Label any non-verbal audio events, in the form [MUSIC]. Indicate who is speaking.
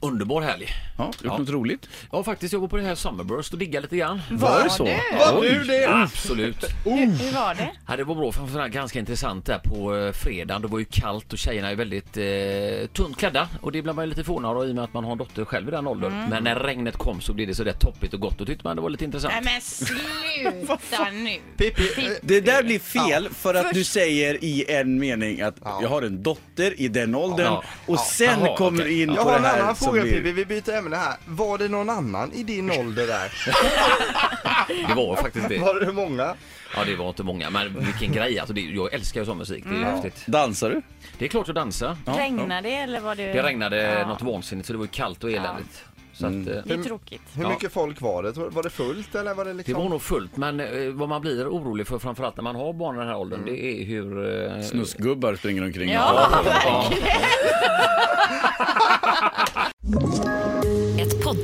Speaker 1: Underbar helg.
Speaker 2: Ja, gjort något roligt?
Speaker 1: Jag har faktiskt jobbat på det här Summerburst och diggat lite grann.
Speaker 2: Var
Speaker 3: det
Speaker 2: det så?
Speaker 3: det?
Speaker 2: Var du det?
Speaker 1: Absolut.
Speaker 3: Hur, hur var det?
Speaker 1: Ja, det var bra, framförallt ganska intressant där på eh, fredagen. Det var ju kallt och tjejerna är väldigt eh, tunt klädda och det blir man ju lite förvånad av i och med att man har en dotter själv i den åldern.
Speaker 3: Mm.
Speaker 1: Men när regnet kom så blev det så där toppigt och gott och tyckte man det var lite intressant.
Speaker 3: Nej men [LAUGHS] sluta nu! Pippi.
Speaker 2: Det där blir fel för att du säger i en mening att jag har en dotter i den åldern
Speaker 1: Ja.
Speaker 2: och sen
Speaker 1: Jaha,
Speaker 2: kommer
Speaker 1: okej.
Speaker 2: du in
Speaker 4: Jag
Speaker 2: på
Speaker 4: har
Speaker 2: det
Speaker 4: en
Speaker 2: här
Speaker 4: annan
Speaker 2: som
Speaker 4: fråga
Speaker 2: blir-
Speaker 4: Pippi, vi byter ämne här. Var det någon annan i din ålder där?
Speaker 1: Det var faktiskt
Speaker 3: [LAUGHS]
Speaker 1: det.
Speaker 4: Var det många?
Speaker 1: Ja, det var inte många, men vilken grej alltså. Det, jag älskar ju sån musik,
Speaker 3: Mm.
Speaker 1: det är häftigt.
Speaker 2: Dansar du?
Speaker 1: Det är klart att dansa.
Speaker 3: Regnade det eller var det...
Speaker 1: Det regnade
Speaker 3: Ja. Mm.
Speaker 1: något vansinnigt så det var ju kallt och eländigt. Så att, eh,
Speaker 3: Det är tråkigt.
Speaker 4: Hur
Speaker 1: Ja.
Speaker 4: mycket folk var det? Var det fullt eller var det
Speaker 1: Det
Speaker 4: liksom?
Speaker 1: var nog fullt, men eh, vad man blir orolig för framförallt när man har barn i den här åldern, det är hur... Eh,
Speaker 2: Snuskgubbar springer omkring.
Speaker 3: Ja,
Speaker 5: Ett